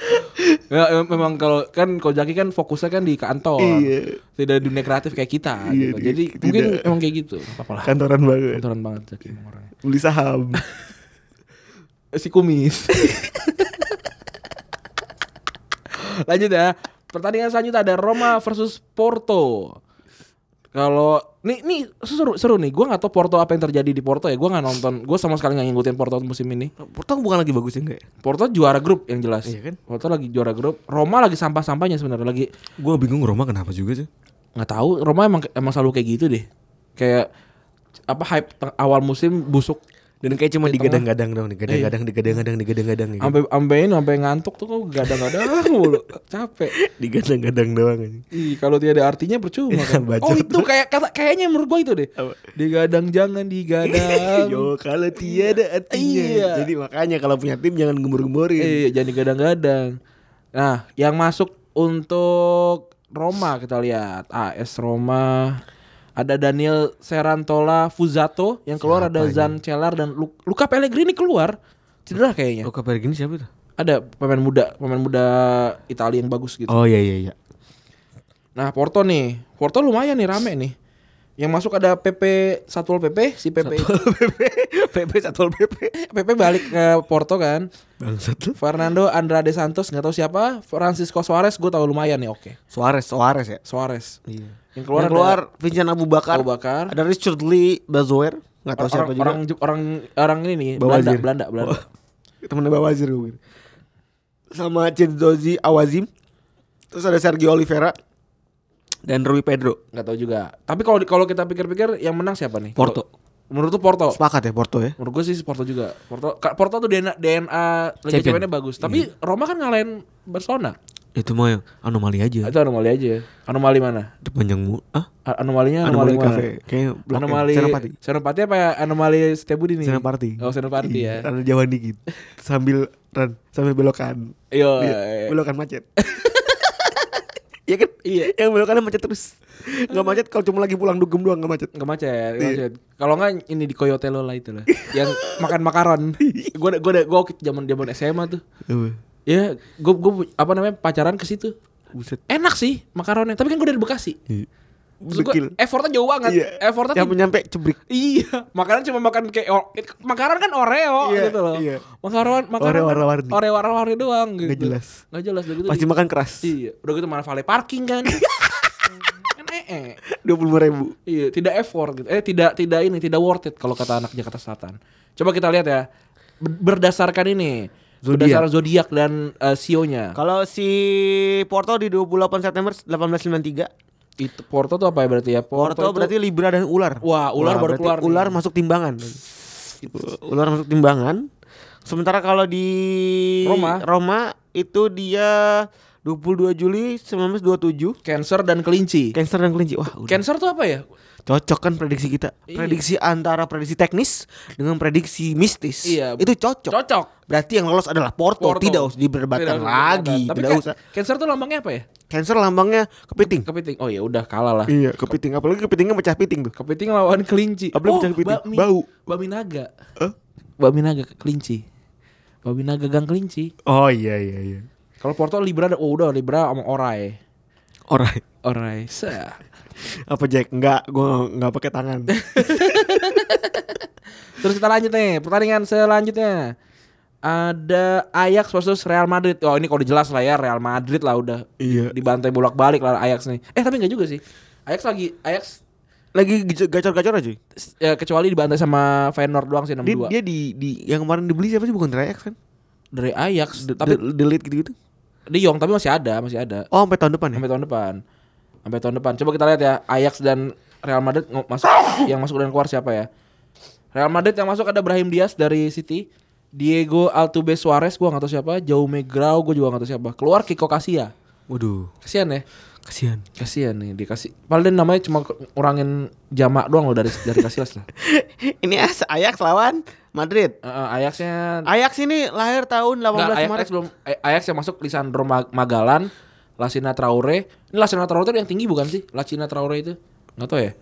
Speaker 2: Ya, em- memang kalau kan kalau Zaki kan fokusnya kan di kantor.
Speaker 3: Iya.
Speaker 2: Tidak di dunia kreatif kayak kita gitu.
Speaker 3: Iya, di-
Speaker 2: Jadi
Speaker 3: tidak. Kan-
Speaker 2: mungkin emang kayak gitu. Nggak Apa-apa lah.
Speaker 3: kantoran banget
Speaker 2: Kantoran banget Zaki emang orangnya.
Speaker 3: beli saham
Speaker 2: si kumis. Lanjut ya. Pertandingan selanjutnya ada Roma versus Porto. Kalau nih nih seru seru nih. Gua nggak tahu Porto apa yang terjadi di Porto ya. Gua nggak nonton. Gua sama sekali nggak ngikutin Porto musim ini.
Speaker 3: Portong bukan lagi bagus enggak ya
Speaker 2: Porto juara grup yang jelas.
Speaker 3: Iya kan?
Speaker 2: Porto lagi juara grup. Roma lagi sampah-sampahnya sebenarnya lagi
Speaker 3: gue bingung Roma kenapa juga sih
Speaker 2: nggak tahu. Roma emang emang selalu kayak gitu deh. Kayak apa hype te- awal musim busuk
Speaker 3: dan kayak Iya. cuma digadang-gadang dong digadang-gadang digadang-gadang digadang-gadang ya.
Speaker 2: sampai sampai ini sampai ngantuk tuh kok gadang-gadang <laughs> mulu. Capek.
Speaker 3: digadang-gadang doang aja
Speaker 2: Ih, kalau tidak ada artinya percuma kan.
Speaker 3: <laughs> bacot.
Speaker 2: Oh, itu kayak kata kayaknya menurut gua itu deh.
Speaker 3: Apa?
Speaker 2: Digadang jangan digadang.
Speaker 3: <laughs> Yo kalau tiada artinya
Speaker 2: Iya.
Speaker 3: Jadi makanya kalau punya tim jangan gembur-gemburin
Speaker 2: eh, jangan digadang-gadang. Nah, yang masuk untuk Roma kita lihat. AS Roma ada Daniel Serantola Fuzato yang keluar ada Zan Celar dan Lu- Luka Pellegrini keluar. Cedera kayaknya.
Speaker 3: kabar gini siapa itu?
Speaker 2: Ada pemain muda, pemain muda Italia yang bagus gitu.
Speaker 3: Oh iya iya iya
Speaker 2: Nah, Porto nih. Porto lumayan nih rame nih. Yang masuk ada PP Satpol PP, si PP itu
Speaker 3: PP PP Satpol PP
Speaker 2: PP balik ke Porto kan.
Speaker 3: Bangsat lu
Speaker 2: Fernando Andrade Santos nggak tahu siapa. Francisco Suarez gue tahu lumayan nih. Oke.
Speaker 3: Suarez Suarez ya
Speaker 2: Suarez.
Speaker 3: Iya.
Speaker 2: Yang keluar,
Speaker 3: Keluar, yang keluar Vincent Abu Bakar.
Speaker 2: Abu Bakar.
Speaker 3: Ada Richard Lee Bazoer, enggak
Speaker 2: ada
Speaker 3: tahu siapa
Speaker 2: orang,
Speaker 3: juga.
Speaker 2: orang Jep- orang orang ini nih Belanda,
Speaker 3: Bawazir.
Speaker 2: Belanda, Belanda.
Speaker 3: Temennya Bawazir gue. Sama Cendozi Awazim. Terus ada Sergio Oliveira dan Rui Pedro.
Speaker 2: Nggak tahu juga. Tapi kalau kalau kita pikir-pikir yang menang siapa nih?
Speaker 3: Porto.
Speaker 1: Oh,
Speaker 2: Kalau- Menurut tuh Porto.
Speaker 3: Sepakat ya Porto ya?
Speaker 2: Menurut gue sih Porto juga. Porto Ka- Porto tuh DNA, DNA Liga
Speaker 3: Champion. Iya.
Speaker 2: Champions-nya bagus. Tapi Roma kan ngalahin Barcelona.
Speaker 3: Itu mah yang anomali aja.
Speaker 2: Itu anomali aja. Anomali mana?
Speaker 3: Panjang mu. Ah,
Speaker 2: A- anomalinya
Speaker 1: Anomali
Speaker 2: anomali, mana?
Speaker 1: Cafe. Kayaknya blok
Speaker 2: Anomali
Speaker 1: ya. Senopati.
Speaker 2: Senopati apa ya? Anomali Setiabudi nih.
Speaker 1: Senopati.
Speaker 2: Oh, Senopati
Speaker 1: Iya,
Speaker 2: ya.
Speaker 1: Ada jauhan dikit. Sambil run, sambil belokan.
Speaker 2: Yo.
Speaker 1: Iya, belokan
Speaker 2: <laughs>
Speaker 1: macet.
Speaker 2: Ya
Speaker 1: Iya kan? Iya. Yang belokannya macet terus. Gak macet kalau cuma lagi pulang dugem doang gak macet.
Speaker 2: Enggak macet,
Speaker 1: Iya.
Speaker 2: nggak macet. Kalau enggak ini di Coyote Lola itu lah. Yang makan makaron.
Speaker 1: Iya.
Speaker 2: Gua ada- gua ada- gua waktu zaman-zaman SMA tuh.
Speaker 3: Iya.
Speaker 2: Ya, gua gua pu- apa namanya? pacaran ke situ.
Speaker 1: Buset.
Speaker 2: Enak sih makaronnya, tapi kan gua dari Bekasi. Maksud gua,
Speaker 1: Dekil.
Speaker 2: effortnya jauh banget.
Speaker 1: Iya.
Speaker 2: Effortnya
Speaker 1: Yang
Speaker 2: tuh-
Speaker 1: menyampe cebrik.
Speaker 2: Iya, makanan cuma makan kayak or- makanan kan Oreo
Speaker 1: Iya,
Speaker 2: gitu loh.
Speaker 1: iya.
Speaker 2: Makanan makanan
Speaker 1: Oreo
Speaker 2: kan
Speaker 1: warna-warni.
Speaker 2: Oreo warna-warni doang gitu.
Speaker 1: Nggak jelas.
Speaker 2: Nggak jelas udah gitu.
Speaker 1: Pasti
Speaker 2: di-
Speaker 1: makan keras.
Speaker 2: <laughs> Iya, udah gitu mana valet parking
Speaker 1: <laughs>
Speaker 2: kan. kan ee.
Speaker 1: Dua puluh ribu.
Speaker 2: Iya, tidak effort gitu. Eh tidak tidak ini tidak worth it kalau kata anak Jakarta Selatan. Coba kita lihat ya. Ber- Berdasarkan ini
Speaker 1: Zodiak.
Speaker 2: Berdasarkan zodiak dan eh, sionya.
Speaker 3: kalau si Porto di 28 September 1893,
Speaker 2: Itu Porto tuh apa ya berarti ya?
Speaker 3: Porto,
Speaker 2: itu-
Speaker 3: berarti Libra dan ular.
Speaker 2: Wah, ular baru
Speaker 3: berarti
Speaker 2: keluar nih.
Speaker 3: Ular masuk timbangan. Gitu. ular masuk timbangan. Sementara kalau di
Speaker 2: Roma.
Speaker 3: itu dia 22 Juli 1927.
Speaker 2: Cancer dan kelinci.
Speaker 3: Cancer dan kelinci. Wah, udah.
Speaker 2: Cancer tuh apa ya?
Speaker 3: cocok kan prediksi kita.
Speaker 2: Iya.
Speaker 3: Prediksi antara prediksi teknis dengan prediksi mistis.
Speaker 2: Iya.
Speaker 3: Itu cocok.
Speaker 2: Cocok.
Speaker 3: Berarti yang lolos adalah Porto,
Speaker 2: Porto.
Speaker 3: Oh, tidak usah
Speaker 2: Tidak
Speaker 3: diperdebatkan
Speaker 2: usah diperdebatkan.
Speaker 3: lagi.
Speaker 2: Tapi
Speaker 3: tidak
Speaker 2: kan-
Speaker 3: usah.
Speaker 2: Cancer tuh lambangnya apa ya?
Speaker 3: Cancer lambangnya kepiting.
Speaker 2: Kepiting. Oh ya udah kalah lah.
Speaker 1: Iya, kepiting. Apalagi kepitingnya pecah piting tuh.
Speaker 2: Kepiting lawan kelinci. Oh,
Speaker 1: Apalagi pecah kepiting?
Speaker 2: bakmi-
Speaker 1: Bau.
Speaker 2: Bakmi naga.
Speaker 1: Hah?
Speaker 2: Bakmi naga ke- kelinci. Bakmi naga gang kelinci.
Speaker 1: Oh iya iya iya.
Speaker 2: Kalau Porto Libra ada- oh udah Libra sama Orai.
Speaker 1: Alright.
Speaker 2: Orai. Sa.
Speaker 1: Apa Jack? Enggak, gua enggak pakai
Speaker 3: <laughs>
Speaker 1: tangan.
Speaker 2: Terus kita lanjut nih, pertandingan selanjutnya. Ada Ajax versus Real Madrid. Oh ini kalau udah jelas lah ya Real Madrid lah udah
Speaker 1: iya.
Speaker 2: dibantai bolak-balik lah Ajax nih. Eh tapi enggak juga sih. Ajax lagi Ajax
Speaker 3: Lagi gacor-gacor aja.
Speaker 2: ya, kecuali dibantai sama Feyenoord doang sih
Speaker 1: Dia,
Speaker 2: 6-2.
Speaker 1: dia di, di yang kemarin dibeli siapa sih bukan Trax kan?
Speaker 2: dari Ajax
Speaker 1: Tapi
Speaker 2: tapi
Speaker 1: delete gitu-gitu.
Speaker 2: De Jong tapi masih ada masih ada
Speaker 1: Oh, sampai tahun depan ya.
Speaker 2: sampai tahun depan sampai tahun depan coba kita lihat ya Ajax dan Real Madrid ngo- masuk <coughs> yang masuk dan keluar siapa ya Real Madrid yang masuk ada Brahim Diaz dari City Diego Altuve Suarez gua nggak tahu siapa Jaume Grau gua juga nggak tahu siapa keluar Kiko Kasia
Speaker 3: Waduh,
Speaker 2: kasihan ya
Speaker 3: kasihan.
Speaker 2: kasihan nih dikasih paling namanya cuma ke- ngurangin jamak doang loh dari dari Casillas lah
Speaker 3: <laughs> Ini as Ajax lawan Madrid.
Speaker 2: Heeh, Ajaxnya
Speaker 3: Ajax ini lahir tahun 18
Speaker 2: Nggak, Ajax,
Speaker 3: Maret.
Speaker 2: belum Aj- Ajax yang masuk Lisandro Mag- Magalan, Lasina Traore. Ini Lasina Traore tuh yang tinggi bukan sih? Lasina Traore itu. Enggak tahu ya.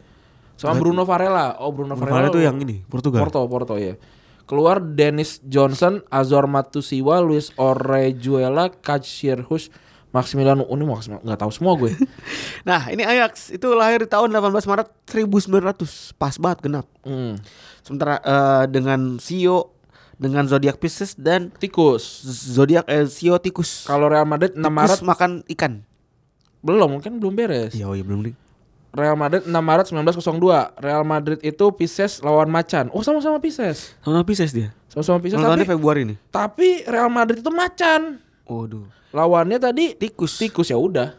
Speaker 2: Sama Bruno Varela. Oh, Bruno, Varela,
Speaker 3: Rafael itu yang ini, Portugal.
Speaker 2: Porto, Porto ya. Keluar Dennis Johnson, Azor Matusiwa, Luis Orejuela, Kacirhus, Maximiliano. Oh, ini Maximiliano nggak tahu semua
Speaker 3: <laughs>
Speaker 2: gue.
Speaker 3: Nah, ini Ajax itu lahir di tahun 18 Maret 1900. Pas banget genap.
Speaker 2: Hmm.
Speaker 3: Sementara eh, dengan Sio, dengan zodiak Pisces dan
Speaker 2: Tikus.
Speaker 3: zodiak eh, Sio tikus.
Speaker 2: Kalau Real Madrid 6 Maret
Speaker 3: Tikus makan ikan.
Speaker 2: belum, kan belum beres.
Speaker 3: Iya, iya belum nih.
Speaker 2: Real Madrid 6 Maret 1902. Real Madrid itu Pisces lawan Macan. Oh, sama-sama Pisces.
Speaker 3: Tahun Pisces
Speaker 2: ya?
Speaker 3: dia.
Speaker 2: Sama-sama Pisces
Speaker 3: Tahun
Speaker 2: tapi
Speaker 3: Februari nih.
Speaker 2: Tapi Real Madrid itu macan.
Speaker 3: Waduh.
Speaker 2: Lawannya tadi
Speaker 3: Tikus.
Speaker 2: tikus ya udah.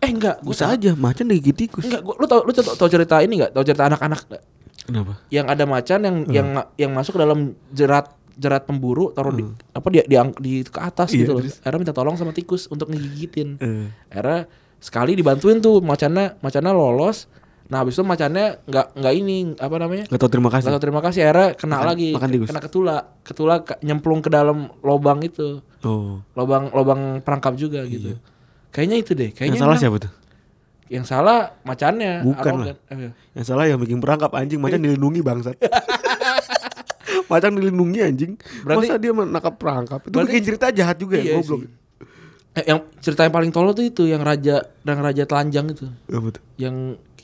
Speaker 2: Eh enggak, gue
Speaker 3: Bisa aja macan digigit tikus.
Speaker 2: Enggak, gua, lu tau lu tau, tau cerita ini enggak? Tau cerita anak-anak nggak?
Speaker 3: Kenapa?
Speaker 2: yang ada macan yang
Speaker 3: Hmm.
Speaker 2: yang yang masuk ke dalam jerat jerat pemburu taruh di
Speaker 3: Hmm.
Speaker 2: apa dia di, di, ke atas
Speaker 3: Iya,
Speaker 2: gitu loh. Era minta tolong sama tikus untuk ngegigitin.
Speaker 3: Eh.
Speaker 2: Era sekali dibantuin tuh macannya macannya lolos. Nah, habis itu macannya nggak nggak ini apa namanya?
Speaker 3: Gak tau terima
Speaker 2: Gak
Speaker 3: kasih.
Speaker 2: tau terima kasih akhirnya kena
Speaker 3: Makan-
Speaker 2: lagi
Speaker 3: makan tikus.
Speaker 2: kena ketula ketula ke- nyemplung ke dalam lobang itu
Speaker 3: Oh.
Speaker 2: lobang lobang perangkap juga gitu. Kayaknya itu deh. Kayaknya
Speaker 3: Iya. Yang salah
Speaker 2: emang-
Speaker 3: siapa tuh?
Speaker 2: Yang salah macannya.
Speaker 1: Bukan
Speaker 2: arogan. Eh,
Speaker 1: Yang salah yang bikin perangkap anjing macan
Speaker 2: Iya.
Speaker 1: dilindungi
Speaker 2: <laughs>
Speaker 1: bangsat. macan dilindungi anjing.
Speaker 2: Berarti-
Speaker 1: Masa dia menangkap perangkap? Itu
Speaker 2: Berarti-
Speaker 1: bikin cerita jahat juga ya,
Speaker 2: Iya
Speaker 1: goblok.
Speaker 2: sih. Eh, yang cerita yang paling tolol tuh itu yang raja yang raja telanjang itu.
Speaker 1: Ya, betul.
Speaker 2: Yang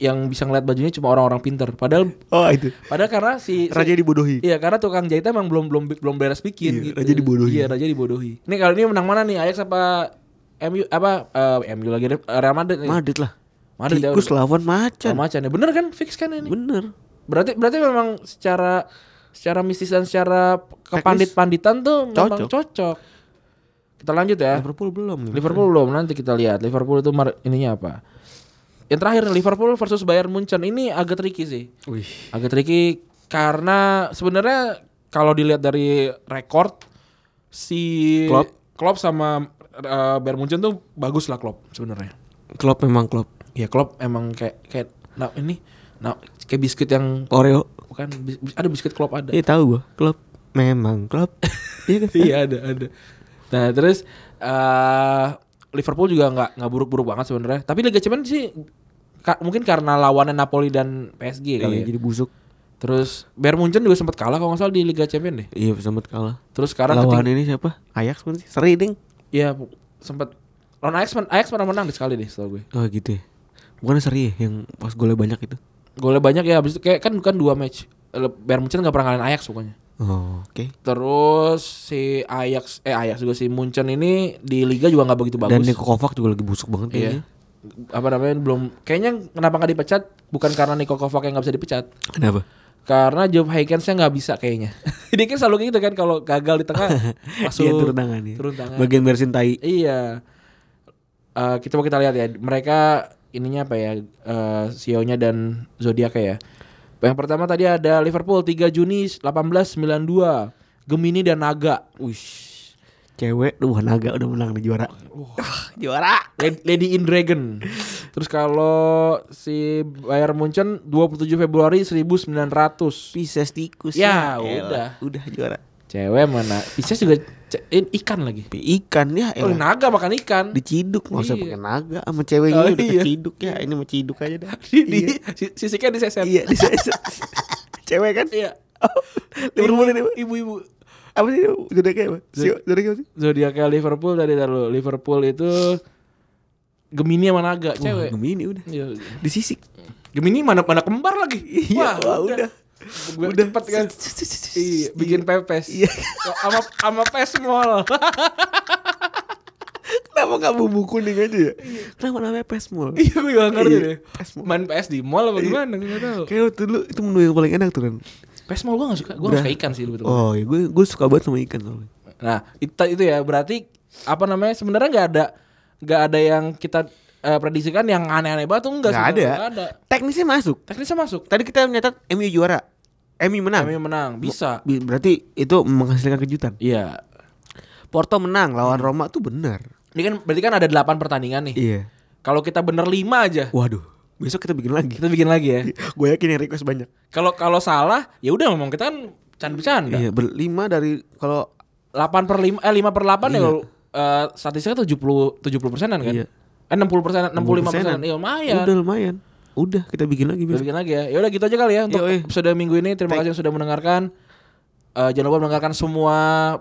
Speaker 2: yang bisa ngeliat bajunya cuma orang-orang pinter. Padahal
Speaker 1: Oh, itu.
Speaker 2: padahal karena si, si-
Speaker 1: Raja dibodohi.
Speaker 2: Iya karena tukang jahitnya emang belum belum belum beres bikin
Speaker 1: Iya,
Speaker 2: gitu.
Speaker 1: raja dibodohi.
Speaker 2: Iya raja dibodohi. Ini kali ini menang mana nih Ajax apa MU apa eh, MU lagi eh, Real Madrid nih.
Speaker 3: Madrid lah.
Speaker 2: Madrid ya,
Speaker 3: tikus lawan macan.
Speaker 2: Sama macan ya. Bener kan fix kan ini?
Speaker 3: Bener.
Speaker 2: Berarti berarti memang secara secara mistis dan secara kepandit-panditan tuh memang
Speaker 3: Cocok.
Speaker 2: cocok. Kita lanjut ya.
Speaker 3: Liverpool belum. nih.
Speaker 2: Liverpool belum nanti kita lihat Liverpool itu mar- ininya apa. Yang terakhir nih, Liverpool versus Bayern Munchen ini agak tricky sih.
Speaker 3: Wih.
Speaker 2: Agak tricky karena sebenarnya kalau dilihat dari rekor si
Speaker 3: Klopp.
Speaker 2: Klopp sama eh, Bayern Munchen tuh bagus lah Klopp sebenarnya.
Speaker 3: Klop memang klop.
Speaker 2: Ya Klopp emang kayak kayak nah ini nah kayak biskuit yang
Speaker 3: Oreo.
Speaker 2: bukan bis- bis- ada biskuit Klopp ada.
Speaker 3: Iya tahu gua. Klop memang klop. <laughs> Iya kan?
Speaker 2: <laughs> iya ada ada. Nah terus eh Liverpool juga nggak nggak buruk-buruk banget sebenarnya. Tapi Liga Champions sih ka- mungkin karena lawannya Napoli dan PSG kali
Speaker 3: Iya
Speaker 2: ya.
Speaker 3: jadi busuk.
Speaker 2: Terus Bayern Munchen juga sempat kalah kalau nggak salah di Liga Champions deh.
Speaker 3: Iya sempat kalah.
Speaker 2: Terus sekarang
Speaker 3: Lawan
Speaker 2: keting-
Speaker 3: ini siapa? Ajax kan sih. Seri ding.
Speaker 2: Iya bu- sempet lawan Ajax, men- Ajax pernah menang deh sekali deh setahu gue.
Speaker 3: Oh gitu ya. Bukan seri ya yang pas golnya banyak itu.
Speaker 2: Golnya banyak ya habis itu kayak kan bukan dua match. Le- Bayern Munchen nggak pernah ngalahin Ajax pokoknya.
Speaker 3: Oh, oke.
Speaker 2: Terus si Ajax eh Ajax juga si Munchen ini di liga juga nggak begitu bagus.
Speaker 3: Dan Niko Kovac juga lagi busuk banget
Speaker 2: Iya.
Speaker 3: kayaknya.
Speaker 2: Apa namanya belum kayaknya kenapa nggak dipecat bukan karena Niko Kovac yang nggak bisa dipecat.
Speaker 3: Kenapa?
Speaker 2: Karena Job Haykensnya nggak bisa kayaknya. <laughs> Dia kan selalu gitu kan kalau gagal di
Speaker 3: <laughs>
Speaker 2: tengah masuk
Speaker 3: Iya, turun tangan ya.
Speaker 2: Turun tangan.
Speaker 3: Bagian bersin tai.
Speaker 2: Iya. Eh kita kita lihat ya. Mereka ininya apa ya? eh CEO-nya dan Zodiac ya. Yang pertama tadi ada Liverpool 3 Juni 1892. Gemini dan Naga.
Speaker 3: Wish. Cewek duh naga udah menang di juara.
Speaker 1: Juara.
Speaker 2: Lady- Lady in Dragon. Terus kalau si Bayern Munchen 27 Februari 1900.
Speaker 3: Pisces tikus.
Speaker 2: Ya,
Speaker 3: elah.
Speaker 2: udah.
Speaker 3: Udah juara.
Speaker 2: Cewek mana? Pisces juga ce- eh, ikan lagi.
Speaker 3: Pi- Ikan ya
Speaker 1: Iya.
Speaker 2: Oh,
Speaker 3: elah.
Speaker 2: naga makan ikan.
Speaker 3: Diciduk nggak usah
Speaker 2: Iya.
Speaker 3: pakai naga sama cewek
Speaker 2: Oh,
Speaker 3: ini udah
Speaker 2: iya.
Speaker 3: keciduk ya. Ini mau ciduk aja <laughs> dah.
Speaker 2: <laughs>
Speaker 3: Iya.
Speaker 2: Di, di, si- sisiknya diseset.
Speaker 1: Iya, diseset. Cewek kan?
Speaker 2: Iya.
Speaker 1: Liverpool ini. Pak.
Speaker 2: Ibu-ibu.
Speaker 1: Apa sih? Zodiaknya apa? Sio, zodiaknya apa sih?
Speaker 2: zodiaknya Liverpool tadi dulu. Liverpool itu Gemini sama Naga, cewek.
Speaker 3: Wah, Gemini udah.
Speaker 2: Iya.
Speaker 3: Disisik.
Speaker 2: Gemini mana mana kembar lagi.
Speaker 1: Iya, wah, udah.
Speaker 2: Biar cepet kan. Iya, bikin pepes.
Speaker 1: Iya.
Speaker 2: Sama sama pesmol.
Speaker 1: Kenapa nggak bumbu kuning aja ya?
Speaker 3: Kenapa namanya pesmol?
Speaker 2: <laughs> Iya, gue gak ngerti
Speaker 1: Iya,
Speaker 2: deh.
Speaker 1: pesmol.
Speaker 2: Main PS di mall apa gimana? Gue gak tau.
Speaker 1: Kayak waktu dulu itu menu yang paling enak tuh iya, kan.
Speaker 2: Pesmol gue gak suka. Gue
Speaker 3: Udah.
Speaker 2: suka ikan sih betul.
Speaker 3: Oh, ya gue gue suka banget sama ikan soalnya.
Speaker 2: Nah, itu itu ya berarti apa namanya sebenarnya nggak ada nggak ada yang kita eh, prediksikan yang aneh-aneh banget tuh enggak
Speaker 3: Nggak ada. ya?
Speaker 2: ada.
Speaker 3: Teknisnya masuk.
Speaker 2: Teknisnya masuk.
Speaker 3: Tadi kita mencatat MU juara. MU menang.
Speaker 2: Kami menang, bisa.
Speaker 3: Bi- Berarti itu menghasilkan kejutan.
Speaker 2: Iya.
Speaker 3: Porto menang lawan
Speaker 1: Hmm.
Speaker 3: Roma tuh benar.
Speaker 2: Ini kan berarti kan ada 8 pertandingan nih.
Speaker 3: Iya.
Speaker 2: Kalau kita bener 5 aja,
Speaker 3: Waduh. Besok kita bikin lagi.
Speaker 2: kita bikin lagi ya.
Speaker 3: Iya.
Speaker 1: <laughs> Gue yakin yang request banyak.
Speaker 2: Kalau kalau salah, ya udah ngomong kita kan canda-bercanda.
Speaker 3: Iya, berlima dari kalau
Speaker 2: 8 per 5 eh 5 per 8 ya kalau eh, statistiknya 70 70 persenan kan?
Speaker 3: Iya.
Speaker 2: Eh 60 persenan, 65 persenan.
Speaker 3: 60%.
Speaker 2: Iya lumayan.
Speaker 3: Udah lumayan. Udah kita bikin lagi
Speaker 2: Kita
Speaker 3: besok.
Speaker 2: bikin lagi ya. Ya udah gitu aja kali ya untuk
Speaker 3: Yoi.
Speaker 2: episode minggu ini. Terima kasih yang sudah mendengarkan. Eh, jangan lupa mendengarkan semua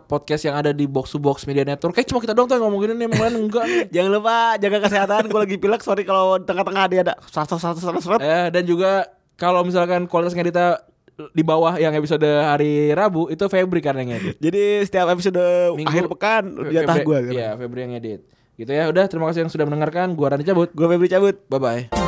Speaker 2: podcast yang ada di box to box media network. Kayak cuma kita doang tuh yang ngomong gini nih, yang lain enggak
Speaker 3: <laughs>
Speaker 2: nih.
Speaker 1: Jangan lupa jaga kesehatan. Gue lagi pilek. Sorry kalau di tengah-tengah dia ada satu satu satu satu.
Speaker 2: Eh, dan juga kalau misalkan kualitas ngedita di bawah yang episode hari Rabu itu Febri karena yang ngedit.
Speaker 1: Jadi setiap episode
Speaker 2: Minggu-
Speaker 1: akhir pekan
Speaker 2: Fe-
Speaker 1: jatah
Speaker 2: Febri-
Speaker 3: kan.
Speaker 1: gue.
Speaker 2: Iya, Febri yang ngedit. Gitu ya. Udah, terima kasih yang sudah mendengarkan. Gua Rani cabut.
Speaker 1: Gue Febri cabut.
Speaker 2: Bye bye.